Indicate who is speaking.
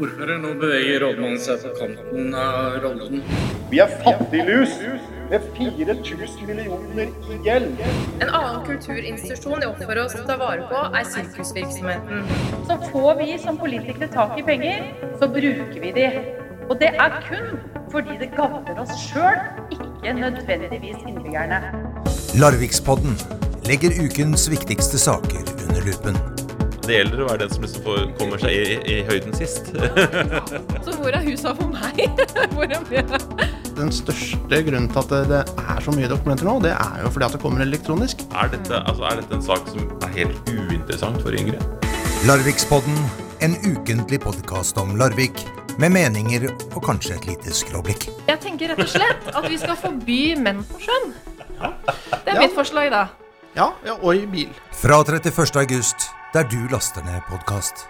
Speaker 1: Ordfører, nå beveger rådmannen seg på kanten av rollen.
Speaker 2: Vi er fattiglus med 4000 millioner i gjeld.
Speaker 3: En annen kulturinstitusjon det er opp for oss å ta vare på, er sirkusvirksomheten. Så får vi som politikere tak i penger, så bruker vi de. Og det er kun fordi det gagner oss sjøl, ikke nødvendigvis innbyggerne.
Speaker 4: Larvikspodden legger ukens viktigste saker under lupen.
Speaker 5: Det gjelder å være den som liksom får, kommer seg i, i høyden sist.
Speaker 6: Så hvor er husa for meg? Hvor er mine?
Speaker 7: Den største grunnen til at det er så mye dokumenter nå, det er jo fordi at det kommer elektronisk.
Speaker 5: er, dette, altså, er dette en sak som er helt uinteressant for yngre?
Speaker 4: Larvikspodden, en ukentlig podkast om Larvik, med meninger og kanskje et lite skråblikk.
Speaker 6: Jeg tenker rett og slett at vi skal forby menn på sjøen. Det er mitt forslag, da.
Speaker 7: Ja, ja og i bil.
Speaker 4: Fra 31. august, der du laster ned podkast.